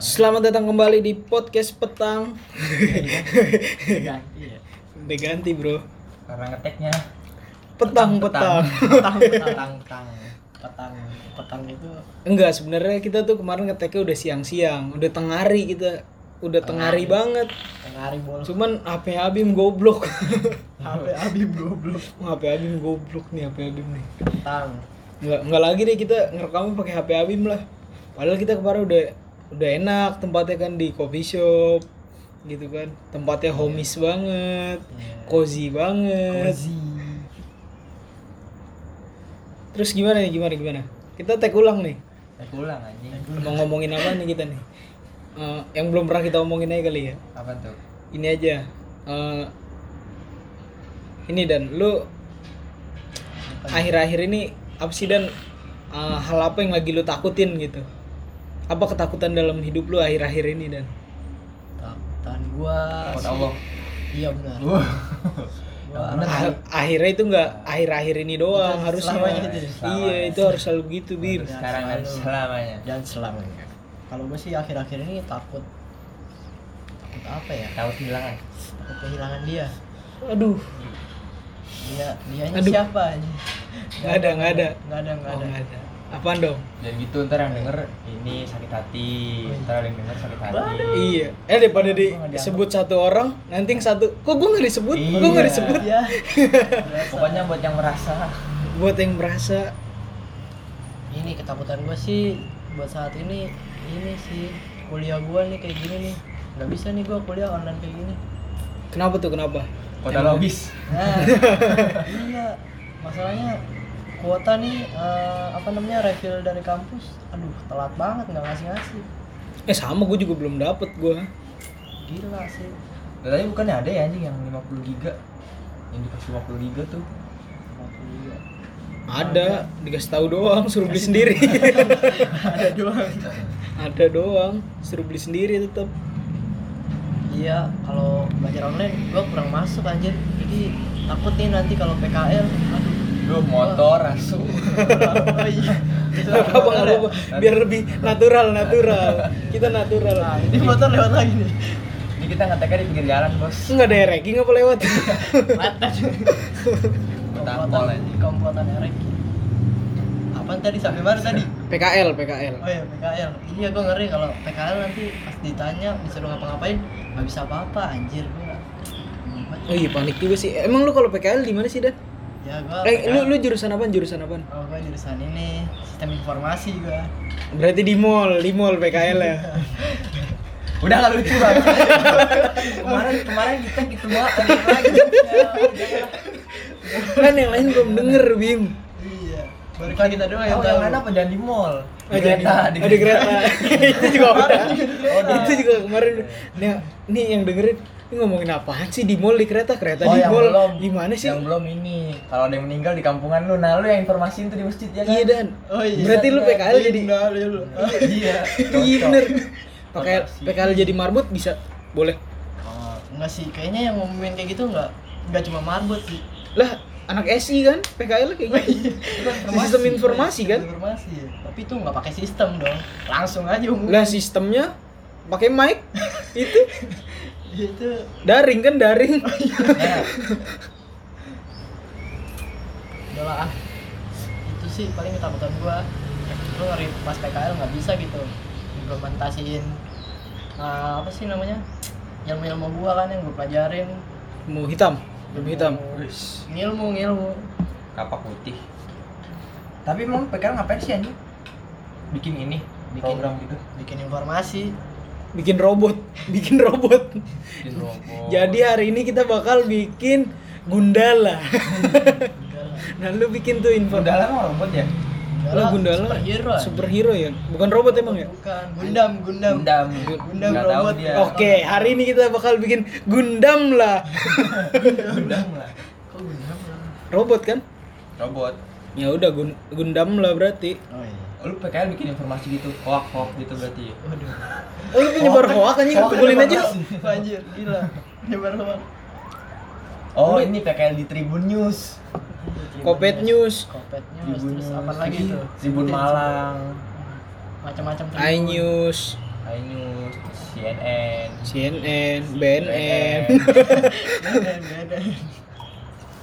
Selamat datang kembali di podcast petang. ganti ya Udah ganti bro. karena ngeteknya Petang petang. petang petang petang petang petang itu Enggak sebenarnya kita tuh kemarin ngeteknya udah siang-siang, udah tengah hari kita, udah tengah hari banget. yang hari bol Cuman HP Abim goblok. HP Abim goblok Wah, HP Abim goblok nih HP Abim nih. petang Enggak enggak lagi deh kita ngerekamnya pakai HP Abim lah. Padahal kita kemarin udah udah enak tempatnya kan di coffee shop gitu kan. Tempatnya homies banget, cozy banget. Kozi Terus gimana nih gimana gimana? Kita tag ulang nih. aku ulang anjing Mau ngomongin apa nih kita nih? Eh, yang belum pernah kita omongin aja kali ya. apa tuh Ini aja. Eh, ini dan lu akhir-akhir ini apa sih dan eh, hal apa yang lagi lu takutin gitu? Apa ketakutan dalam hidup lu akhir-akhir ini dan? takutan gua Takut sih. Allah. Ah, iya benar Wah. Gua benar Ah, akhirnya itu enggak akhir-akhir ini doang Itu harusnya. selamanya gitu. Iya, Selamanya. itu harus selalu gitu, Bim. Harus. sekarang dan selamanya dan selamanya ya. kalau gua sih akhir-akhir ini takut takut apa ya tahu kan? kehilangan takut kehilangan dia Aduh, dia dia Aduh. siapa anjing Nggak ada, nggak ada. nggak ada nggak oh, ada nggak ada. Apaan dong? dan gitu ntar yang denger ini sakit hati ntar yang denger sakit hati Iya, eh daripada Gua nggak disebut satu orang, nanti yang satu, kok gue nggak disebut, gue Iya. nggak disebut. Iya. pokoknya buat yang merasa Buat yang merasa ini ketakutan gue sih buat saat ini ini sih kuliah gue nih kayak gini nih nggak bisa nih gue kuliah online kayak gini kenapa tuh kenapa? kota logis nah iya masalahnya kuota nih eh, apa namanya refill dari kampus aduh telat banget nggak ngasih ngasih Eh sama gue juga belum dapet gue. gila sih Nah, tapi bukan ada ya anjing yang 50 giga yang dikasih 50 giga tuh Waktu iya. Ada, dikasih tahu doang, suruh beli sendiri. ada doang Ada doang, suruh beli sendiri tetap. iya kalau belajar online gue kurang masuk anjir jadi takut nih nanti kalau PKL aduh lu motor asu oh iya Itu Gak apa-apa, nggak motor ya? apa-apa. Biar lebih natural, natural. Kita natural. Nah, ini motor lewat lagi nih. ini kita ngeteknya di pinggir jalan bos Enggak ada ranking apa lewat? Matan. Ketampol anjing. Komplotan Erek. Apaan tadi sampai mana tadi? PKL, PKL. Oh iya PKL. Iya gua ngeri kalau PKL nanti pas ditanya disuruh ngapa-ngapain nggak bisa apa-apa anjir gua. Oh iya panik juga sih. Emang lu kalau PKL di mana sih dan? Ya gua. Eh, PKL. lu lu jurusan apaan? Jurusan apaan? Oh, gua jurusan ini sistem informasi gua. Berarti di mall, di mall PKL ya. udah nggak lucu banget kemarin kemarin kita gitu banget anjing lagi. kan yang lain belum denger Bim Iya. Baru kan kita doang tahu yang tahu. Oh, yang lain apa jangan di mall Oh, jadi- oh, di kereta itu juga udah Oh, di- itu juga kemarin nih nih yang dengerin ini ngomongin apaan sih di mall di kereta kereta Oh, di yang mall belum. gimana sih Yang belum ini. Kalau ada yang meninggal di kampungan lu, nah lu yang informasiin tuh di masjid ya kan? iya dan Oh iya. berarti lu PKL jadi Iya, iya, lu. iya. iya Cocok. bener PKL Rotasi. PKL jadi marbot bisa boleh Oh, enggak sih, kayaknya yang ngomongin kayak gitu enggak enggak cuma marbot sih. lah anak SI kan PKL kayak gitu Itu kan Di sistem informasi kan? Informasi. ya. Tapi itu nggak pakai sistem dong. Langsung aja umum. lah sistemnya pakai mic itu Ya Itu daring kan daring Nah, udah lah, ah. Itu sih paling ketakutan gua. Lu ngeri pas PKL nggak bisa gitu implementasiin eh, apa sih namanya? Ilmu-ilmu gua kan yang gua pelajarin. mau hitam belum hitam wis, Ngilmu, ngilmu. kapak putih. Tapi emang PKL ngapain sih anjing? Bikin ini, Bikin. program gitu. Bikin informasi. bikin robot bikin robot Oh. Bikin robot. Jadi hari ini kita bakal bikin Gundala. Udah lah. Nah, lu bikin tuh info. Gundala emang robot ya? Udah Lah lah, Gundala. Superhero. anjing. Superhero ya? Bukan robot emang ya? Bukan, Gundam, Gundam. Gundam. Gundam Nggak tahu robot. dia. Oke, hari ini kita bakal bikin Gundam lah. Gundam lah. Kok Gundam? Robot kan? Robot. Ya udah Gun- Gundam lah berarti. Oh iya. Lu PKL bikin informasi gitu, hoak hoak gitu berarti ya? Waduh. Oh, lu penyebar hoak anjing, Oh, Hoak pukulin aja. informasi. Anjir, gila. Nyebar doang. Oh, Lu- ini PKL di Tribun News. Kopet News, Kopetnya Tribun terus apa lagi tuh? Tribun Malang. Macam-macam iNews, I iNews, CNN, CNN, BNN.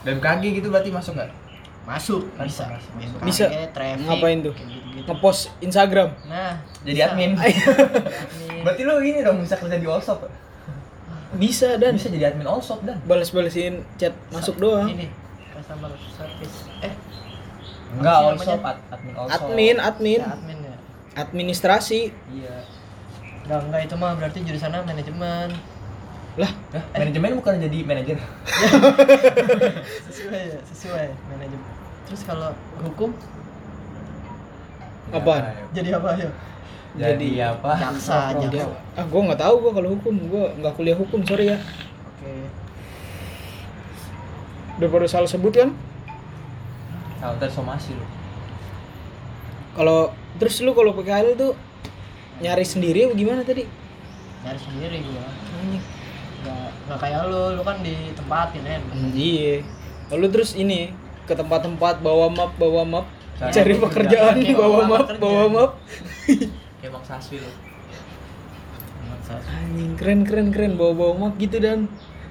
BMKG gitu berarti masuk nggak? masuk bisa Masuk, masuk. Bisa. Kayak traffic, Ngapain tuh? kayak gitu-gitu. Ngepost Instagram. nah Jadi bisa. admin. Admin. berarti lu ini dong bisa kerja di Allshop. Bisa dan Dan bisa jadi admin Allshop dan. balas-balasin chat masuk doang. ini customer service eh Enggak Apa sih Allshop, namanya? ad- admin Allshop. Admin, admin, ya, admin ya administrasi. Iya. enggak enggak itu mah berarti jurusannya manajemen Lah, Hah, manajemen bukan jadi manajer. sesuai ya sesuai manajemen terus kalau hukum Apaan? Ya, jadi apa ya Jadi, Jadi apa? jaksa Pro- jaksa Dia- ah gue nggak tahu gue kalau hukum gue nggak kuliah hukum sorry ya oke daripada salah sebut kan Counter somasi lu. kalau terus lu kalau PKL tuh nyari sendiri apa gimana tadi nyari sendiri gua nggak nggak kayak lu lu kan ditempatin ya Hmm, iya lalu terus ini ke tempat-tempat bawa map bawa map Cari cari pekerjaan pekerjaan. bawa Bawa map kerja. bawa map Kayak Bang Saswi lu. anjing keren keren keren bawa bawa map gitu dan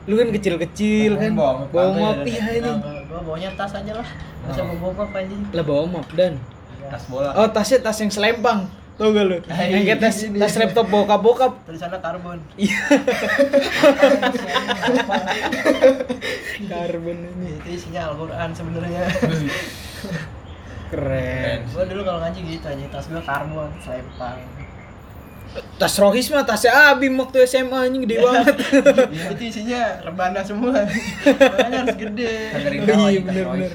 lu kan kecil kecil Bawa kan bawa map bawa apa map ya, iya ini Nah, gua- gua bawanya tas aja lah masa Oh. gua bawa apa aja lah bawa map dan Tas bola. oh tasnya tas yang selempang tau gak lu Nah, yang kayak iya, tas tas laptop bokap bokap tulisannya karbon karbon ini itu isinya Al-Quran sebenarnya keren gua dulu kalau ngaji gitu aja tas gua karbon selempang tas Rohis mah tasnya Abim waktu SMA anjing gede banget itu isinya rebana semua makanya harus gede Dengerin Oh, kawan iya, kita, bener, Roy. bener.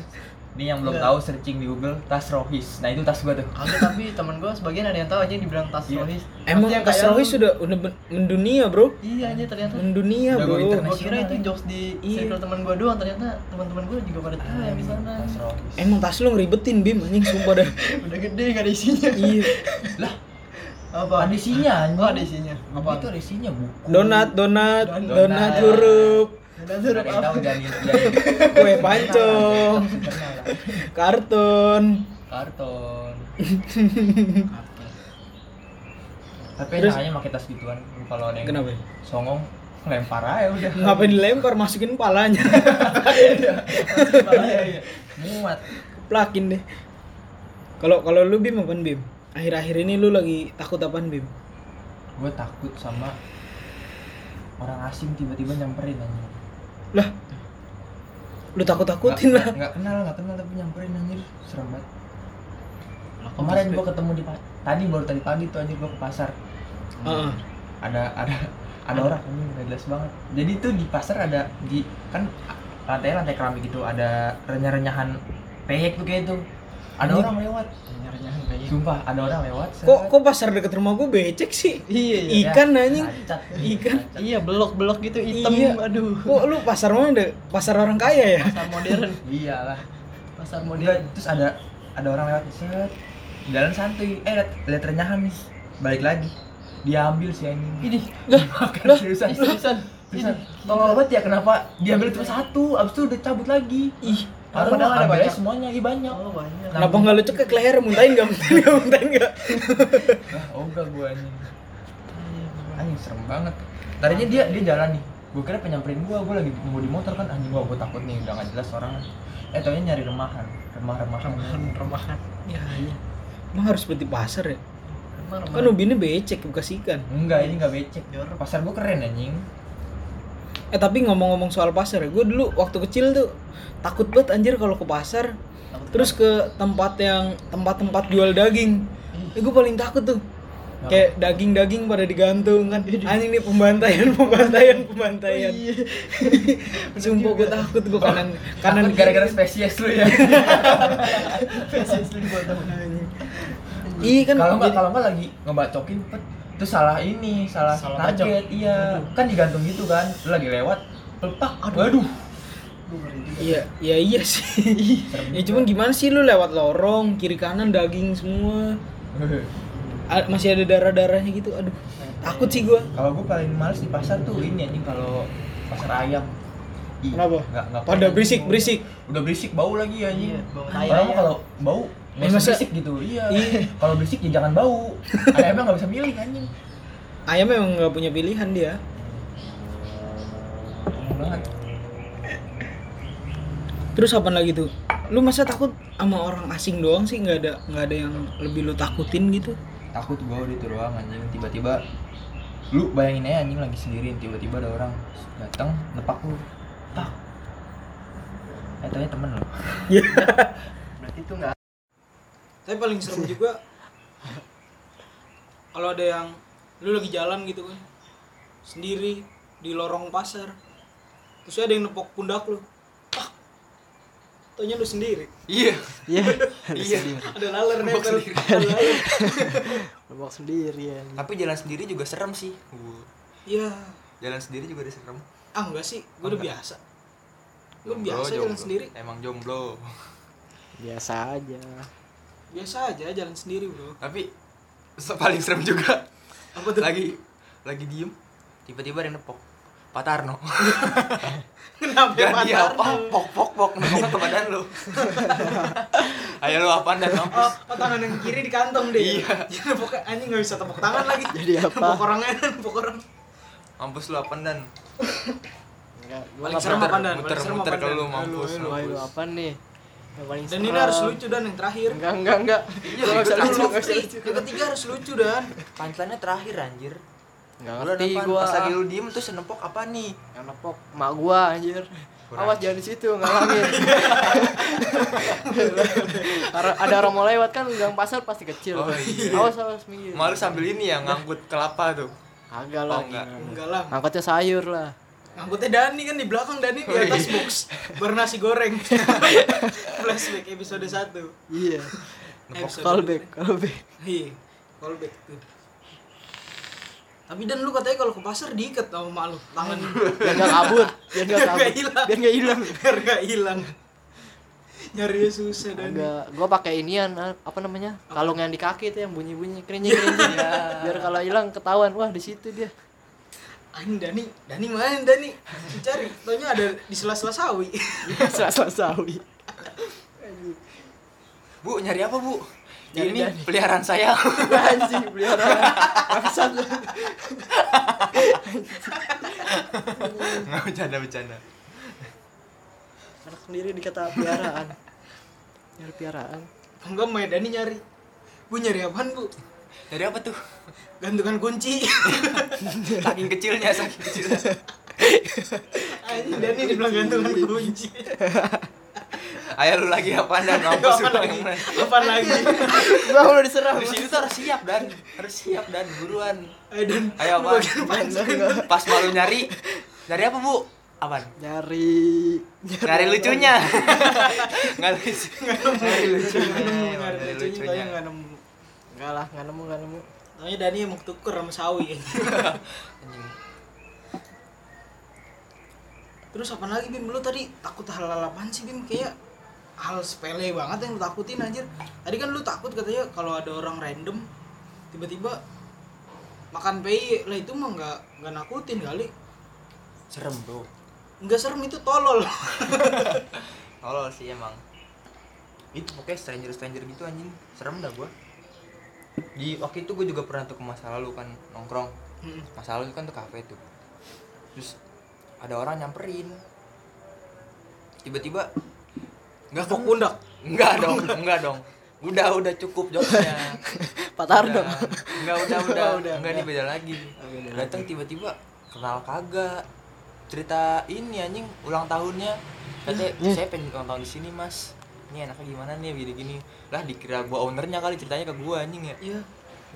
Ini yang belum Iya. tahu searching di Google tas Rohis. Nah, itu tas gua tuh. Kagak tapi temen gua sebagian ada yang tahu aja yang dibilang tas Iya. rohis emang Maksudnya tas kayak Rohis lu- sudah udah ben- mendunia bro iya aja ternyata mendunia Udah bro gua internet. gua kira itu jokes di Iya. circle teman gua doang ternyata teman-teman gua juga pada tahu yang di sana Nah, Tas Rohis. emang tas lu ngeribetin Bim anjing sumpah dah udah gede gak ada isinya iya Lah, apa ada isinya anjing. oh ada isinya Apa itu ada isinya buku. donat donat Donat. donat huruf ada Ada huruf yang apa tahu jadi jadi kue pancong kartun karton. Apa? Tapi Terus- enaknya pakai tas gituan Lu kalau ada yang kenapa ya? songong lempar aja udah. ngapain dilempar masukin palanya Iya, iya. Muat. plakin deh kalau kalau lu Bim apaan Bim akhir-akhir ini lu lagi takut apaan Bim Gue takut sama orang asing tiba-tiba nyamperin anjing. lah lu takut takutin lah Nggak- nggak kenal nggak kenal tapi nyamperin anjir serem banget Lah, kemarin kok gua ketemu di pa- tadi baru tadi pagi tuh anjir gua ke pasar Heeh. ada ada ada orang anjing nggak jelas banget jadi tuh di pasar ada di kan lantai lantai keramik gitu ada renyah-renyahan peyek tuh kayak itu ada Anjing. orang lewat nyarinya kayaknya sumpah ada orang lewat kok kok pasar dekat rumah gue becek sih iya iya. Ih. ikan, anjing? Ikan. ikan iya belok belok gitu hitam Iya. aduh kok lu pasar mana deh pasar orang kaya ya pasar modern iyalah pasar Udah, modern terus ada ada orang lewat set jalan santuy eh liat- liat renyahan nih balik lagi diambil si anjing ini Makan seriusan seriusan Seriusan. Tolol banget ya kenapa diambil cuma satu, abis itu udah cabut lagi. ih Padahal Padahal ada ada banyak. banyak semuanya, iya banyak. oh banyak kenapa nggak lu cekek leher muntahin nggak muntahin nggak muntahin nggak Lah, oh enggak gua anjing. Anjing serem banget. Tadinya dia dia jalan nih. Gua kira penyamperin gua, gua lagi mau di motor kan anjing gua, gua takut nih udah nggak jelas orang. Eh taunya nyari remahan, remah-remahan. remahan remahan ya iya emang harus berhenti pasar ya Remah, kan remahan ubinnya becek bekas ikan Enggak, ini enggak becek. jorok Pasar gua keren anjing. eh tapi ngomong-ngomong soal pasar ya gue dulu waktu kecil tuh takut banget anjir kalau ke pasar Takut terus ke tempat yang tempat-tempat jual daging eh, gue paling takut tuh kayak daging-daging pada digantung kan Iya. anjing nih pembantaian pembantaian pembantaian Oh, iya iya, Sumpah gue takut gue kanan kanan Kanan gara-gara spesies lu ya. Spesies lu dibuat apa? Iya kan kalau nggak jadi- kalau nggak lagi ngebacokin pet itu salah ini salah, Salah target bacok. iya Aduh. kan digantung gitu kan lu lagi lewat lepak aduh, Gua ngeri juga. Iya, ya iya sih. ya cuman gimana sih lu lewat lorong kiri kanan daging semua. A- masih ada darah-darahnya gitu. Aduh, takut sih gua. kalau gue paling males di pasar tuh ini anjing kalau pasar ayam Ih, Kenapa? nggak nggak Pada pengen. berisik, berisik. udah berisik bau lagi anjing Iya, bau tai orang mah ayam. kalau bau Eh, nggak usah masa- berisik gitu iya Iya. kalau berisik ya jangan bau ayamnya nggak bisa milih anjing ayam memang nggak punya pilihan dia Ngomong banget terus apa lagi tuh lu masa takut sama orang asing doang sih nggak ada nggak ada yang lebih lu takutin gitu takut gua udah itu doang anjing tiba-tiba lu bayangin aja anjing lagi sendiri tiba-tiba ada orang datang nepak lu pak eh tanya temen lu Iya. berarti itu nggak tapi paling serem juga kalau ada yang lu lagi jalan gitu kan sendiri di lorong pasar terus ada yang nepok pundak lu Pak, tanya lu sendiri iya Iya, iya ada laler nempel Ada laler. nebak sendiri ya. tapi jalan sendiri juga serem sih Gua- iya jalan sendiri juga ada serem ah enggak sih gue udah biasa gue Jomblo, biasa jalan jomblo. sendiri emang jomblo Biasa aja. biasa aja jalan sendiri bro tapi se- paling serem juga apa tuh lagi lagi diem tiba-tiba ada yang nepok Pak Tarno kenapa Jangan dia Tarno? apa? Pok pok pok nepok ke badan lu Ayo lu apaan dan Oh, mampus oh, tangan yang kiri di kantong deh. Iya. Jadi pokoknya anjing nggak bisa tepuk tangan lagi. Jadi apa? Tepuk orang aja, tepuk orang. Mampus lu apaan dan Enggak, gua Paling Iya. nggak serem apa, pernah. Dan? muter Paling serem muter apa, ke Dan? lu Ayo, mampus Lu, lu ayo, apa nih? Yang paling Dan ini harus serem. lucu dan yang terakhir. Enggak, enggak, enggak. Iya, Gua nggak bisa itu lucu. lucu, nggak bisa lucu. Yang ketiga harus lucu dan. Pancelannya terakhir anjir Enggak Lu ngerti apaan? gua. Pas lagi lu diem terus nepok apa nih? Yang nepok mak gua anjir. Kurang. Awas jangan di situ, ngalangin. Ada- ada orang mau lewat kan gang pasar pasti kecil. Oh, iya. Awas awas minggir. Malu sambil ini ya ngangkut kelapa tuh Agak Oh, lah. enggak. gimana. Enggak lah. Angkotnya sayur lah. Angkutnya Dani kan di belakang Dani Oh, di atas iya. box bernasi goreng. Flashback episode 1. Iya. Nepok Episode Callback, callback. Iya, callback tuh. Tapi Dan lu katanya kalau ke pasar diikat sama mak lu tangan Biar enggak kabur, biar enggak Biar kabur. nggak hilang. Biar enggak hilang. biar gak hilang. Nyarinya susah Dan. Enggak, gua pakai inian ah, apa namanya? Kalung yang di kaki tuh yang bunyi-bunyi kerinjing-kerinjing. Biar kalau hilang ketahuan, wah di situ dia. Anjing Dani, Dani main Dani. Cari, taunya ada di sela-sela sawi. Selasa sawi. Bu nyari apa bu? Nyari ini Dani. peliharaan saya Anjing, peliharaan. Bangsat. Nggak bercanda-bercanda Anak sendiri dikata piaraan. Nyari piaraan. Enggak main Dani nyari. Bu nyari apaan, Bu? Nyari apa tuh? Gantungan kunci. Saking kecilnya, saking kecilnya Anjing Dani dibilang gantungan kunci. Ayo lu lagi apaan dan mampus lu Apaan lagi? yang mana? Apaan lagi? Gua udah diserang. Di situ tuh harus siap dan harus siap dan buruan. Ayo Dan. Ayo lu apaan? bagian Pas malu nyari, nyari apa bu? Apaan? Nyari Nyari lucunya. Nggak lucu. Nyari lucunya. Nggak nemu, nggak ada Nyari lucunya, lucunya. taunya nggak nemu. Enggak lah, enggak nemu, enggak nemu. Taunya Dani emang tuker sama sawi. Anjing. Terus apa lagi Bim? Lu tadi takut hal-hal apaan sih Bim? Kayak hal sepele banget yang lu takutin anjir. Tadi kan lu takut katanya kalau ada orang random tiba-tiba makan pei lah itu mah nggak nggak nakutin kali Serem bro. nggak serem itu tolol Tolol sih emang. Itu pokoknya stranger stranger gitu anjing. Serem dah gua. Di waktu itu gua juga pernah tuh ke masa lalu kan nongkrong. Hmm. Masa lalu kan tuh kafe tuh. Terus ada orang nyamperin. Tiba-tiba nggak Tepuk kan- pundak Enggak dong, enggak dong. Udah, udah cukup jokesnya. Pak Tarno. Udah. Enggak, udah, udah. Udah, enggak udah. nih beda lagi. Oh, beda Datang tiba-tiba kenal kagak. Cerita ini anjing ulang tahunnya. Eh, Katanya, saya pengen ulang tahun di sini, Mas. Ini enaknya gimana nih gini-gini. Lah dikira gua ownernya kali ceritanya ke gua anjing ya. Iya.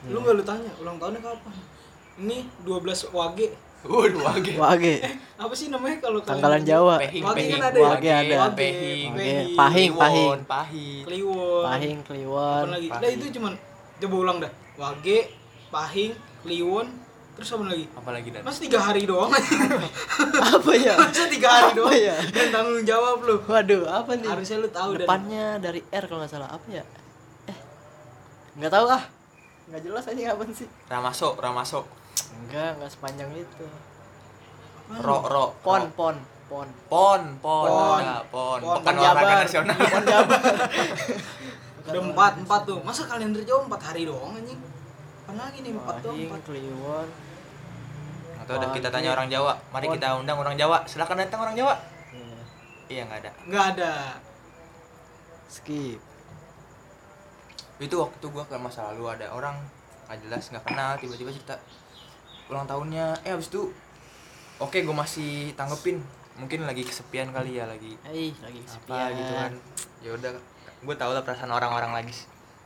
Lu nggak lu tanya ulang tahunnya kapan? Ini 12 wage. Waduh, wage. Wage, Apa sih namanya kalau kalian- tanggalan Jawa. Pehing, Wage pehing. kan ada ya? Wage ada. pehing. Wage. Pehing, Pahing, Kliwon, pahing. pahing. Kliwon. Pahing, Apa Kliwon. lagi? Pahing. Nah, itu cuman coba ulang dah. Wage, pahing, kliwon, terus apa lagi? Apalagi dan. Mas tiga hari doang Apa ya? Masa tiga hari Apa doang ya? Dan tanggung jawab lu Waduh, apa nih? Harusnya lu tahu dan depannya dari R kalau nggak salah apa ya eh nggak tahu ah nggak jelas aja apa sih Ramaso, Ramaso. enggak nggak sepanjang itu Ro, ro. pon Oh. pon pon Pon, pon, Pon. ada, pon. Pon, Pekan Pon olahraga Jabar. nasional. pon jabar Udah empat, empat tuh Masa kalender Jawa empat hari doang anjing Apa lagi nih empat doang Wahing empat Kliwon Atau Oh, udah iya. kita tanya orang Jawa. Mari kita undang orang Jawa. Silakan datang orang Jawa. Iya nggak ada. nggak ada skip Itu waktu gua ke masa lalu ada orang nggak jelas nggak kenal tiba-tiba cerita ulang tahunnya. Eh habis itu oke gua masih tanggepin. Mungkin lagi kesepian kali ya lagi Eh, lagi Iya. apa gitu kan. Ya udah gua tau lah perasaan orang-orang lagi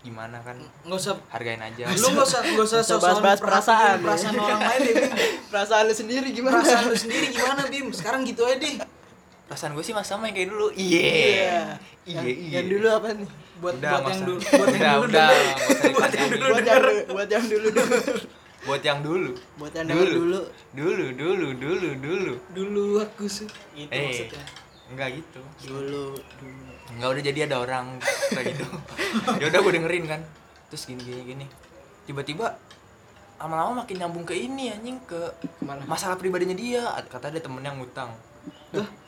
gimana kan. nggak usah Hargain aja. lu nggak usah nggak usah Bisa sosokan bahas-bahas perasaan, perhatiin ya. perasaan orang lain deh Bim. perasaan lu sendiri gimana perasaan lu sendiri gimana Bim sekarang gitu aja deh Perasaan gue sih masih sama yang kayak dulu. Iya. Iya, iya. yang dulu apa nih buat buat Udah, nggak yang usah. dulu buat Udah, yang dulu udah, deh. nggak usah buat yang dipanjangin. dulu buat yang du- buat yang dulu dulu buat yang dulu buat yang dulu dulu dulu dulu dulu dulu dulu aku sih gitu Eh. maksudnya enggak gitu dulu enggak udah jadi ada orang kayak gitu ya udah gue dengerin kan terus gini gini gini tiba-tiba lama-lama makin nyambung ke ini anjing ke Kemana? masalah pribadinya dia kata ada temennya ngutang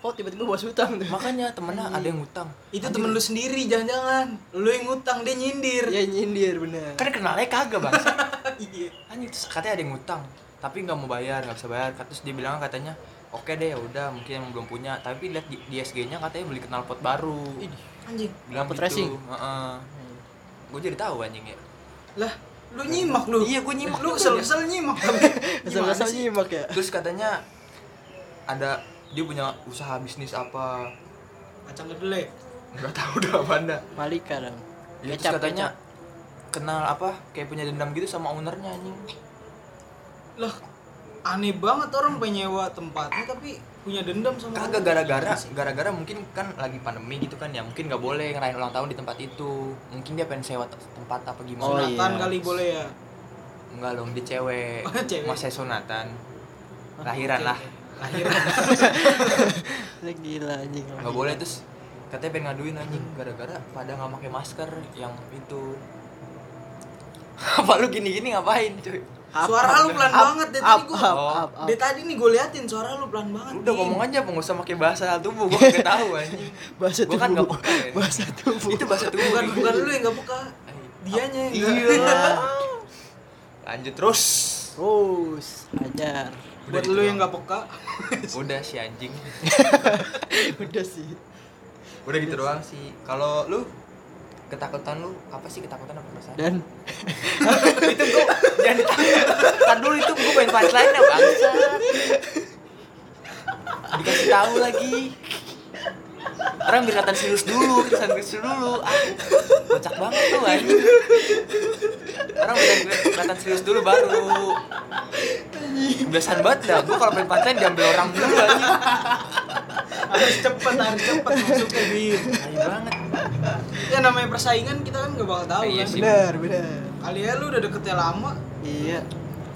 kok tiba-tiba bos hutang tuh makanya temennya ada yang ngutang itu temen lu sendiri jangan-jangan lu yang ngutang dia nyindir Iya. ya nyindir bener kan kenalnya kagak bang iya anjing terus katanya ada yang ngutang tapi nggak mau bayar nggak bisa bayar terus dia bilang katanya oke deh ya udah mungkin emang belum punya tapi lihat di, di SG-nya katanya beli knalpot baru anjing bilang Knalpot gitu racing? gue jadi tahu anjing ya lah lu nyimak lu Iya, gua nyimak lu juga. kesel-kesel nyimak Gimana asal-asal sih? nyimak ya terus katanya ada dia punya usaha bisnis apa kacang kedelai nggak tahu udah apa dah Malika dong ya, terus katanya kenal apa kayak punya dendam gitu sama ownernya anjing lah aneh banget orang pengen nyewa tempatnya tapi punya dendam sama kagak orang. gara-gara gara-gara mungkin kan lagi pandemi gitu kan ya mungkin nggak boleh ngerayain ulang tahun di tempat itu mungkin dia pengen sewa te- tempat apa Oh, gimana sunatan iya. kali boleh ya enggak dong dia cewek Cewek. masa sunatan lahiran lah lahiran katanya gila anjing nggak boleh terus katanya pengen ngaduin anjing gara-gara pada nggak pakai masker yang itu apa lu gini-gini ngapain cuy suara lu pelan banget deh tadi up, gua up, Oh. up, up. deh tadi nih gue liatin suara lu pelan banget udah Din. ngomong aja apa nggak usah pakai bahasa tubuh gua nggak tahu anjing bahasa Gua kan tubuh nggak pakai. bahasa tubuh itu bahasa tubuh kan, Iya. bukan Dik. bukan lu yang gak buka dianya yang nggak. lanjut terus terus ajar gitu buat lu yang gak peka udah si anjing udah sih udah gitu doang sih kalau lu ketakutan lu apa sih ketakutan apa perasaan dan itu gua jangan ditanya kan dulu itu gua main punchline nya bangsa dikasih tahu lagi orang biar kelihatan serius dulu kelihatan serius dulu ah kocak banget tuh anjing orang biar kelihatan serius dulu baru biasaan banget dah gua kalau main punchline diambil orang dulu anjing harus cepet harus cepet masuknya Bim Tai banget ya namanya persaingan kita kan gak bakal tahu Iya kan sih. bener bener kali ya lu udah deketnya lama iya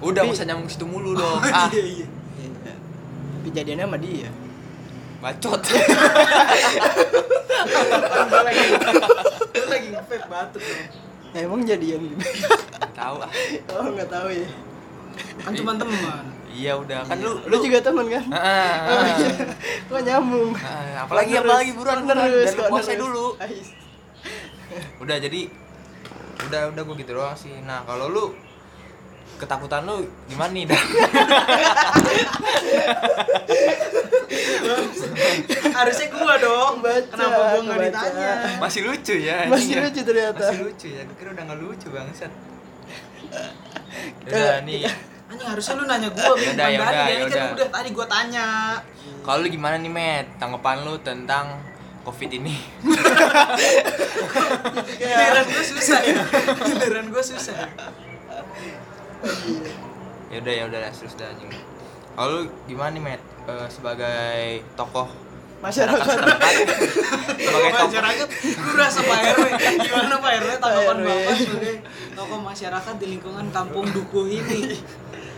udah nggak usah nyambung situ mulu dong ah iya iya iya tapi jadiannya sama dia bacot Gua lagi gua lagi ngefake batuk ya. dong. Nah, emang jadian gimana tahu ah oh nggak tahu ya kan cuma teman iya udah kan lu lu juga temen kan Ah, Oh, ah. iya. kok nyambung Ah, apalagi apalagi buruan buruan terus dan mau saya dulu udah jadi udah udah gue gitu doang sih nah kalau lu ketakutan lu gimana nih Dan? harusnya gua dong Baca, kenapa gua nggak baca. ditanya masih lucu ya anjing Masih ya? lucu ternyata. masih lucu ya gue kira udah nggak lucu bangsat udah nih anjing harusnya lu nanya gua Bim Yaudah, bukan yaudah, Dani Dani kan yaudah. udah tadi gua tanya kalau lu gimana nih met tanggapan lu tentang covid ini giliran gua susah ya giliran gua susah ya udah ya udah terus dah anjing kalau lu gimana nih met Eh, sebagai tokoh masyarakat sebagai tokoh masyarakat lu rasa Pak RW gimana Pak RW tanggapan Pak RW. bapak sebagai tokoh masyarakat di lingkungan kampung dukuh ini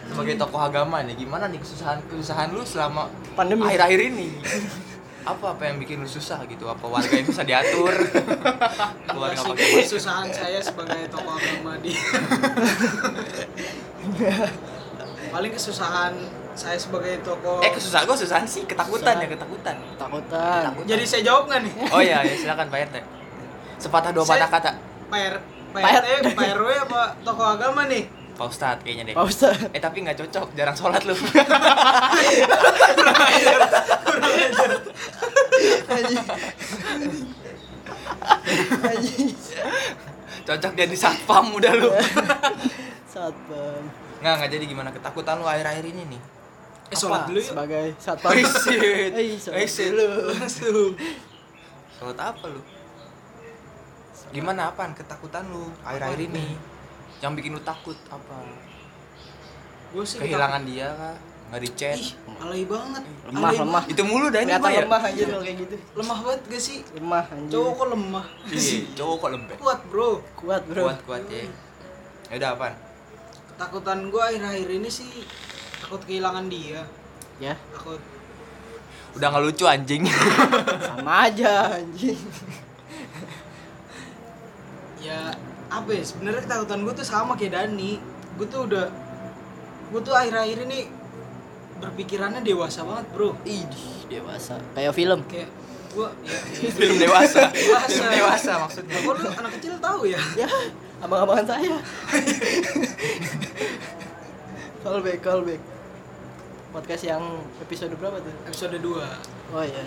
sebagai tokoh agama nih gimana nih kesusahan kesusahan lu selama Pandemi. akhir-akhir ini apa apa yang bikin lu susah gitu apa warga yang bisa diatur keluarga Masih pakai masker kesusahan saya sebagai tokoh agama di paling kesusahan saya sebagai tokoh eh kesusahan gua kesusahan sih ketakutan ya ketakutan takutan jadi saya jawab nggak nih oh iya ya silakan pak rt sepatah dua Saya- patah kata Pak R- Pak Pak RT, Pak RW apa tokoh agama nih? Eh, Pak Ustadz kayaknya deh Pak Ustadz. eh tapi nggak cocok jarang sholat lu cocok jadi satpam udah lu Satpam. nggak nggak jadi gimana ketakutan lu akhir-akhir ini nih Eh sholat dulu yuk. Sebagai satpam. Wih, shit. Eh, sholat Wih, shit. Langsung. Sholat apa lu? Gimana apaan ketakutan lu akhir-akhir ini? Yang bikin lu takut apa? Gue sih Kehilangan dia kah? Nggak di chat? Ih, alay banget. Lemah, Alay lemah. Itu mulu dah ini Kelihatan Pak, ya? lemah anjir kalau kayak gitu. Lemah banget gak sih? Lemah anjir. Cowok kok lemah? Iya, cowok kok lembek. Kuat bro. kuat, Bro. Kuat-kuat ya. Ya udah apaan? Ketakutan gue akhir-akhir ini sih takut kehilangan dia. Ya, Takut Udah nggak lucu anjing. sama aja anjing. ya apa ya sebenarnya ketakutan gue tuh sama kayak Dani gue tuh udah gue tuh akhir-akhir ini berpikirannya dewasa banget bro Idih, dewasa. Kayak film. kayak gue ya, Film dewasa. Dewasa. Film dewasa maksudnya. ya. kok lu anak kecil tahu ya Ya, abang-abangan saya. callback, callback. Podcast yang episode berapa tuh? episode 2 Oh iya,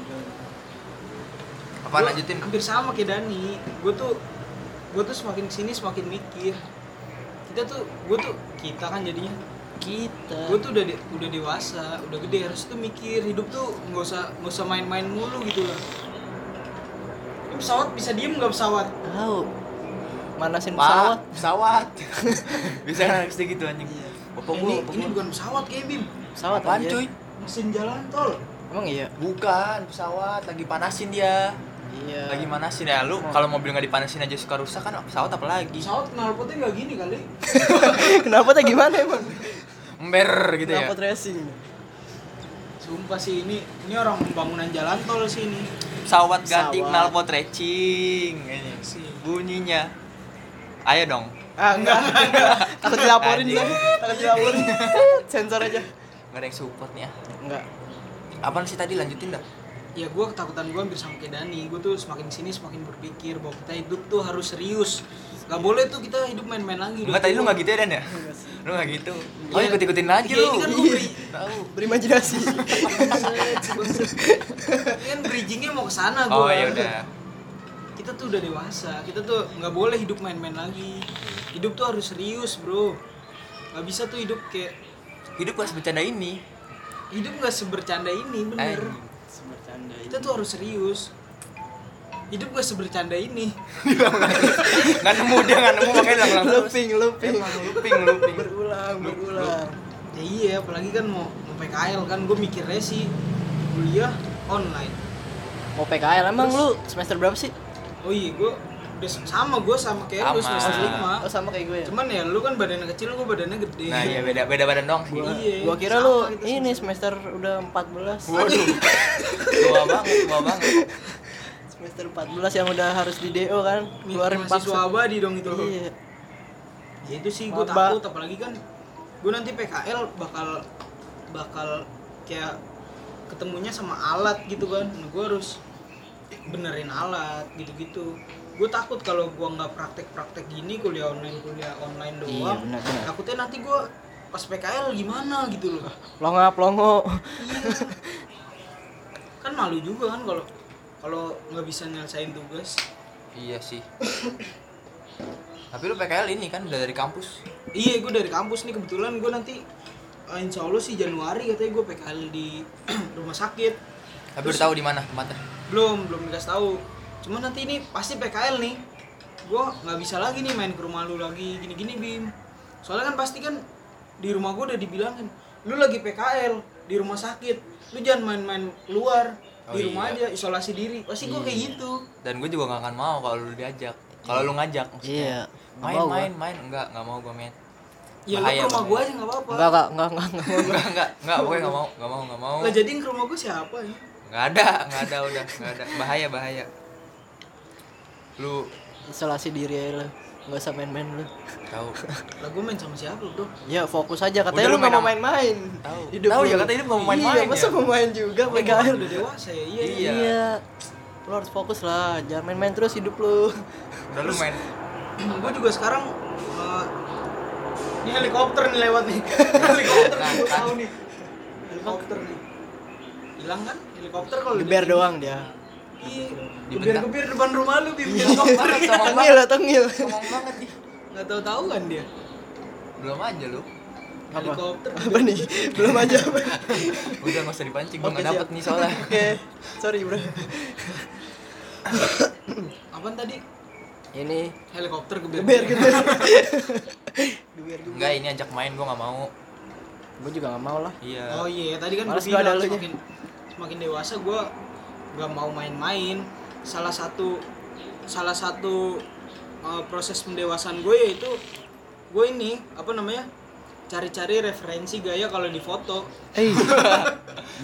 Apaan lanjutin? hampir sama kayak Dani gue tuh gue tuh semakin kesini semakin mikir kita tuh gue tuh kita kan jadinya kita. gue tuh udah de- udah dewasa udah gede harus tuh mikir hidup tuh nggak usah nggak usah main-main mulu gitu lah Ini pesawat bisa diem nggak pesawat Tahu. Manasin pesawat. Pak, pesawat. Bisa kan harus gitu anjing. Bapak ini, gua, bapak ini gua. bukan pesawat kayak Bim Pesawat Apaan anjir. cuy? mesin jalan tol Emang iya. Bukan pesawat, lagi panasin dia. Iya. lagi manasin ya Oh. lu kalau mobil nggak dipanasin aja suka rusak kan pesawat apa lagi pesawat knalpotnya nggak gini kali Kenapa tuh gimana emang? ember gitu ya Kenapa tracing? sumpah sih ini ini orang pembangunan jalan tol sih ini pesawat ganti Pesawat. knalpot racing ini bunyinya ayo dong Ah, enggak, enggak, enggak. Takut dilaporin Anjing. kan? Takut dilaporin. Sensor aja. nggak ada yang support nih ya Enggak. apaan sih tadi lanjutin dah ya gue ketakutan gue hampir sama kayak Dani gue tuh semakin sini semakin berpikir bahwa kita hidup tuh harus serius nggak boleh tuh kita hidup main-main lagi Enggak tadi lu nggak gitu ya Dan ya lu nggak gitu oh ikut ikutin lagi Iya, lu ini kan gua beri- tahu Berimajinasi. Ini kan bridgingnya mau ke sana gue oh ya udah kita tuh udah dewasa kita tuh nggak boleh hidup main-main lagi hidup tuh harus serius bro nggak bisa tuh hidup kayak hidup harus bercanda ini hidup nggak sebercanda ini eh, bener Bercanda. kita tuh harus serius hidup gak sebercanda ini nggak nemu dia nggak nemu makanya ulang terus Looping, looping. looping looping Berulang, berulang. ya iya apalagi kan mau mau PKL kan gue mikirnya sih kuliah online Mau PKL emang lu semester berapa sih? oh iya gue udah sama gue sama kayak lu Sama. semester lima Oh, sama kayak gue ya. cuman ya lu kan badannya kecil gue badannya gede nah iya beda beda badan dong sih Gua, Iya, gua kira sama lu kita ini gitu, semester udah 14. waduh tua banget tua banget Semester 14 yang udah harus di DO kan. iya. Keluarin mahasiswa paksa. abadi dong itu Iya. ya itu sih gue Maba. takut apalagi kan gue nanti PKL bakal bakal kayak ketemunya sama alat gitu kan nah, gue harus benerin alat gitu-gitu gue takut kalau gue nggak praktek-praktek gini kuliah online kuliah online Iya, doang benar benar. takutnya nanti gue pas PKL gimana gitu loh Iya. Longa plongo. kan malu juga kan kalau kalau nggak bisa nyelesain tugas Iya sih. Tapi lu PKL ini kan udah dari kampus. Iya, gue dari kampus nih kebetulan gue nanti eh, Insya Allah sih Januari katanya gue PKL di rumah sakit Tapi udah tahu di mana tempatnya. belum belum dikasih tahu cuman nanti ini pasti PKL nih gue nggak bisa lagi nih main ke rumah lu lagi gini-gini bim soalnya kan pasti kan di rumah gue udah dibilangin lu lagi PKL di rumah sakit lu jangan main-main keluar di Oh rumah iya. aja isolasi diri pasti gue kayak gitu Dan gue juga gak akan mau kalau lu diajak. Kalau lu ngajak Iya, maksudnya. nggak Main mau gua. main main enggak enggak mau gue main. ya lu Bahaya, ke rumah bahaya. gue aja nggak apa-apa Enggak, enggak, enggak, enggak, enggak. Enggak enggak enggak pokoknya enggak mau enggak mau enggak mau. lah jadi yang ke rumah gue siapa ya Enggak ada enggak ada udah enggak ada bahaya bahaya. Lu Isolasi diri aja lu. Enggak usah main-main lu. tahu lah gue main sama siapa lu bro Ya fokus aja katanya Udah, lu lu nggak mau main main-main. Tahu. Hidup Tahu lu. ya, katanya hidup nggak mau main-main Iya, masa ya. mau main juga PKL PKL. udah dewasa ya iya Iya. Iya. Lu harus fokus lah, jangan main-main terus hidup lu. Hmm, udah lu main gue juga sekarang eh, Ini helikopter nih lewat nih. helikopter nih, gua tahu nih. Helikopter nih. Hilang kan helikopter Oh, kalau di- Geber doang dia. Iya. Dibentak. Gebir-gebir depan rumah lu bim helikopter. Tengil lah, tengil. Ngomong banget nih. Enggak tahu-tahu kan dia. Belum aja lu. Apa? Helikopter. Apa nih? Belum aja. apa? Udah nggak usah dipancing, gua Oke, nggak dapet siap. nih soalnya. Oke, sorry bro. Apaan tadi? Ini Helikopter gebir. geber geber. geber. Enggak, ini ajak main gua nggak mau. Gue juga gak mau lah. Iya. Oh iya, tadi kan gue Males gua ada bilang elunya. semakin, semakin dewasa gue gak mau main-main. Salah satu salah satu uh, proses pendewasaan gue yaitu gue ini apa namanya cari-cari referensi gaya kalau di foto. Eh,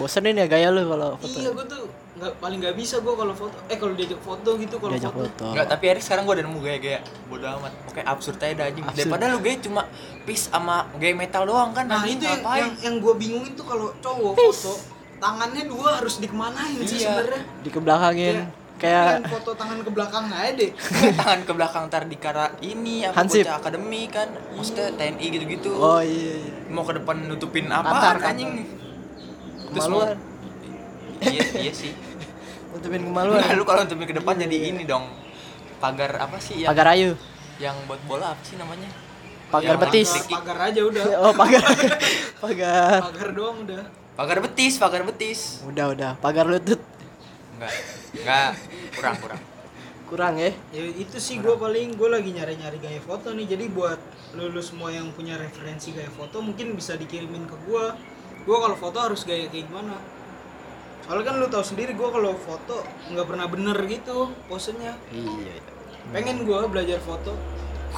bosenin ya gaya lu kalau foto. Iya gue tuh nggak paling nggak bisa gue kalau foto. Eh kalau diajak foto gitu kalau Diajak foto. foto. Enggak, tapi Erik sekarang gua udah nemu gaya-gaya bodo amat. Oke, absurd aja dah anjing. Absurd. Daripada lu gaya cuma peace sama gaya metal doang kan. Nah anjing, itu yang ngapain? yang, yang gue bingungin tuh kalau cowok foto tangannya dua harus dikemanain sih Iya. sebenarnya. Di kebelakangin Kayak kayak foto tangan ke belakang aja deh. tangan ke belakang tar di kara ini apa Hansip. bocah akademi kan maksudnya TNI gitu-gitu oh iya. iya. mau ke depan nutupin apa kan, Kantar, kantar. anjing Terus mau- Kemaluan. iya iya sih Untungin Nah, kemaluan. lu kalau nutupin ke depan jadi ini dong pagar apa sih yang Iya, Pagar ayu. yang buat bola apa sih namanya Pagar Yang betis. antik. Pagar aja udah. Oh, Iya, pagar. pagar. Pagar doang udah. pagar betis pagar betis Udah, udah. Pagar lutut. enggak enggak kurang kurang Kurang ya. Ya itu sih gue paling gue lagi nyari-nyari gaya foto nih. Jadi buat lulu semua yang punya referensi gaya foto mungkin bisa dikirimin ke gue. Gue kalau foto harus gaya kayak gimana? Soalnya kan lu tahu sendiri gue kalau foto nggak pernah bener gitu posenya. Iya. Pengen gue belajar foto.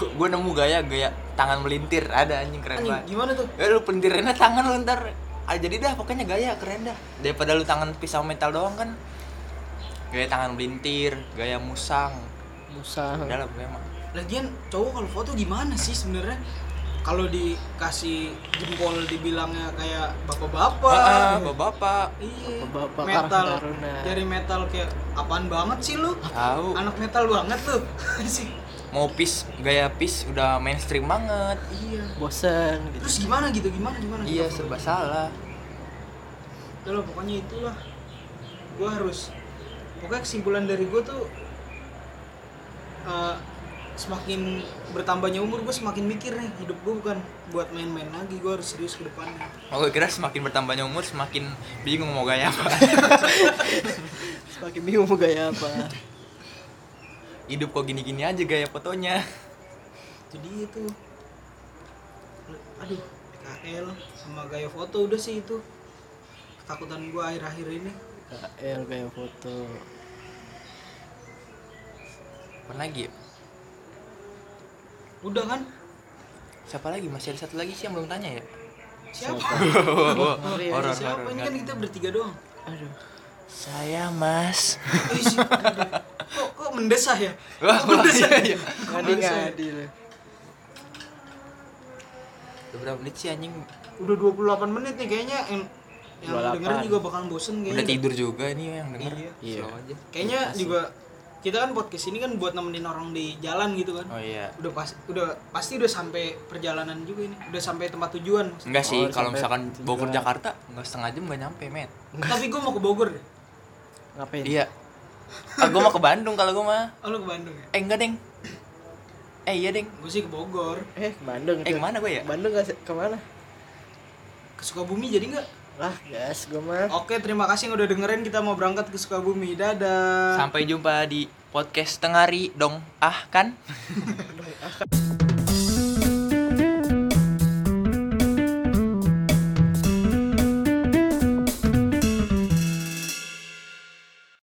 Gu- gua nemu gaya gaya tangan melintir ada anjing keren Anjing, banget gimana tuh? eh lu pentirinnya tangan lu ntar ah, jadi dah pokoknya gaya keren dah daripada lu tangan pisau metal doang kan gaya tangan melintir gaya musang Musa. udah lah gue mah Lagian cowok kalau foto gimana sih sebenarnya? Kalau dikasih jempol dibilangnya kayak bapak-bapak. gitu. Ah, ah, bapak-bapak Iya. Bapak-bapak metal. Karuna. Dari metal kayak apaan banget sih lu? tahu Anak metal banget lu. sih. mau pis gaya pis udah mainstream banget Iya. Bosen gitu. Terus gimana gitu? Gimana gimana? iya serba salah Udah lah, pokoknya itulah. Gua harus pokoknya kesimpulan dari gua tuh eh, semakin bertambahnya umur gue semakin mikir nih hidup gue bukan buat main-main lagi gue harus serius ke depannya Oh, gue kira semakin bertambahnya umur semakin bingung mau gaya apa. Pakai bingung mau gaya apa. Hidup kok gini-gini aja gaya fotonya. jadi itu aduh PKL sama gaya foto udah sih itu ketakutan gue akhir-akhir ini KL gaya foto. Apa lagi? ya? udah kan Siapa lagi? Masih ada satu lagi sih yang belum tanya ya? siapa Horor, horor, siapa ini kan horor. kita bertiga doang Aduh. Saya Mas. Ih, sih. kok kok mendesah ya Wah, wah, iya, iya. Ngadi-ngadi lu. Udah berapa menit sih anjing? udah 28 menit nih kayaknya yang yang 28. dengerin juga bakalan bosen Udah kayaknya tidur juga nih yang denger. Iya. Iya. Slow aja. kayaknya juga kita kan podcast ini kan buat nemenin orang di jalan gitu kan Oh iya. udah pas udah pasti udah sampai perjalanan juga ini udah sampai tempat tujuan maksudnya. Enggak sih, Oh, kalau sampai misalkan Bogor tujuan. Jakarta enggak setengah jam enggak nyampe, Met. tapi gue mau ke Bogor deh Ngapain? Iya. Ah, gua mau ke Bandung kalau gua mah. oh, lu ke Bandung ya Eh, enggak, Deng. Eh, iya, Deng. gue sih ke Bogor Eh, ke Bandung. Eh, tuh. kemana gue ya? Bandung gak sih? Kemana? ke Sukabumi jadi nggak Lah, gas gue mah. oke terima kasih yang udah dengerin kita mau berangkat ke Sukabumi dadah Sampai jumpa di podcast tengah hari dong. Ah, kan?